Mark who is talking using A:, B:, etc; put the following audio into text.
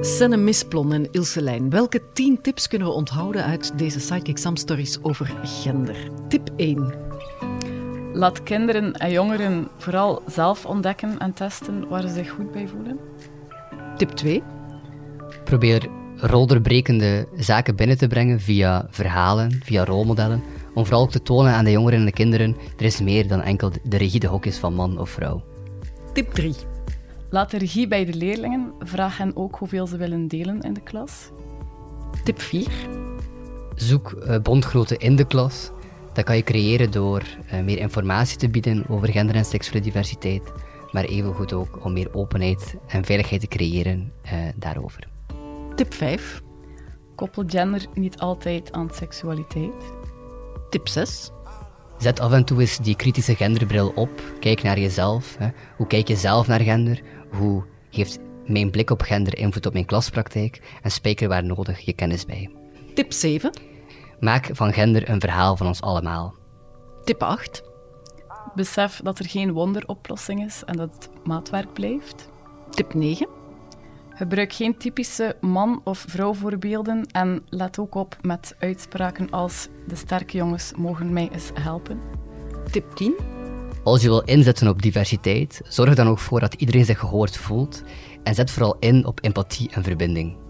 A: Senne Misplon en Ilse Lijn. Welke tien tips kunnen we onthouden uit deze Psychic Sam Stories over gender? Tip 1.
B: Laat kinderen en jongeren vooral zelf ontdekken en testen waar ze zich goed bij voelen.
A: Tip 2.
C: Probeer roldoorbrekende zaken binnen te brengen via verhalen, via rolmodellen. Om vooral ook te tonen aan de jongeren en de kinderen, er is meer dan enkel de rigide hokjes van man of vrouw.
A: Tip 3.
B: Laat de regie bij de leerlingen. Vraag hen ook hoeveel ze willen delen in de klas.
A: Tip 4.
C: Zoek eh, bondgenoten in de klas. Dat kan je creëren door eh, meer informatie te bieden over gender en seksuele diversiteit, maar evengoed ook om meer openheid en veiligheid te creëren eh, daarover.
A: Tip 5.
B: Koppel gender niet altijd aan seksualiteit.
A: Tip 6.
C: Zet af en toe eens die kritische genderbril op. Kijk naar jezelf. Hè. Hoe kijk je zelf naar gender? Hoe heeft mijn blik op gender invloed op mijn klaspraktijk? En spijker waar nodig je kennis bij.
A: Tip 7.
C: Maak van gender een verhaal van ons allemaal.
A: Tip 8.
B: Besef dat er geen wonderoplossing is en dat het maatwerk blijft.
A: Tip 9.
B: Gebruik geen typische man- of vrouwvoorbeelden en let ook op met uitspraken als de sterke jongens mogen mij eens helpen.
A: Tip 10.
C: Als je wil inzetten op diversiteit, zorg dan ook voor dat iedereen zich gehoord voelt en zet vooral in op empathie en verbinding.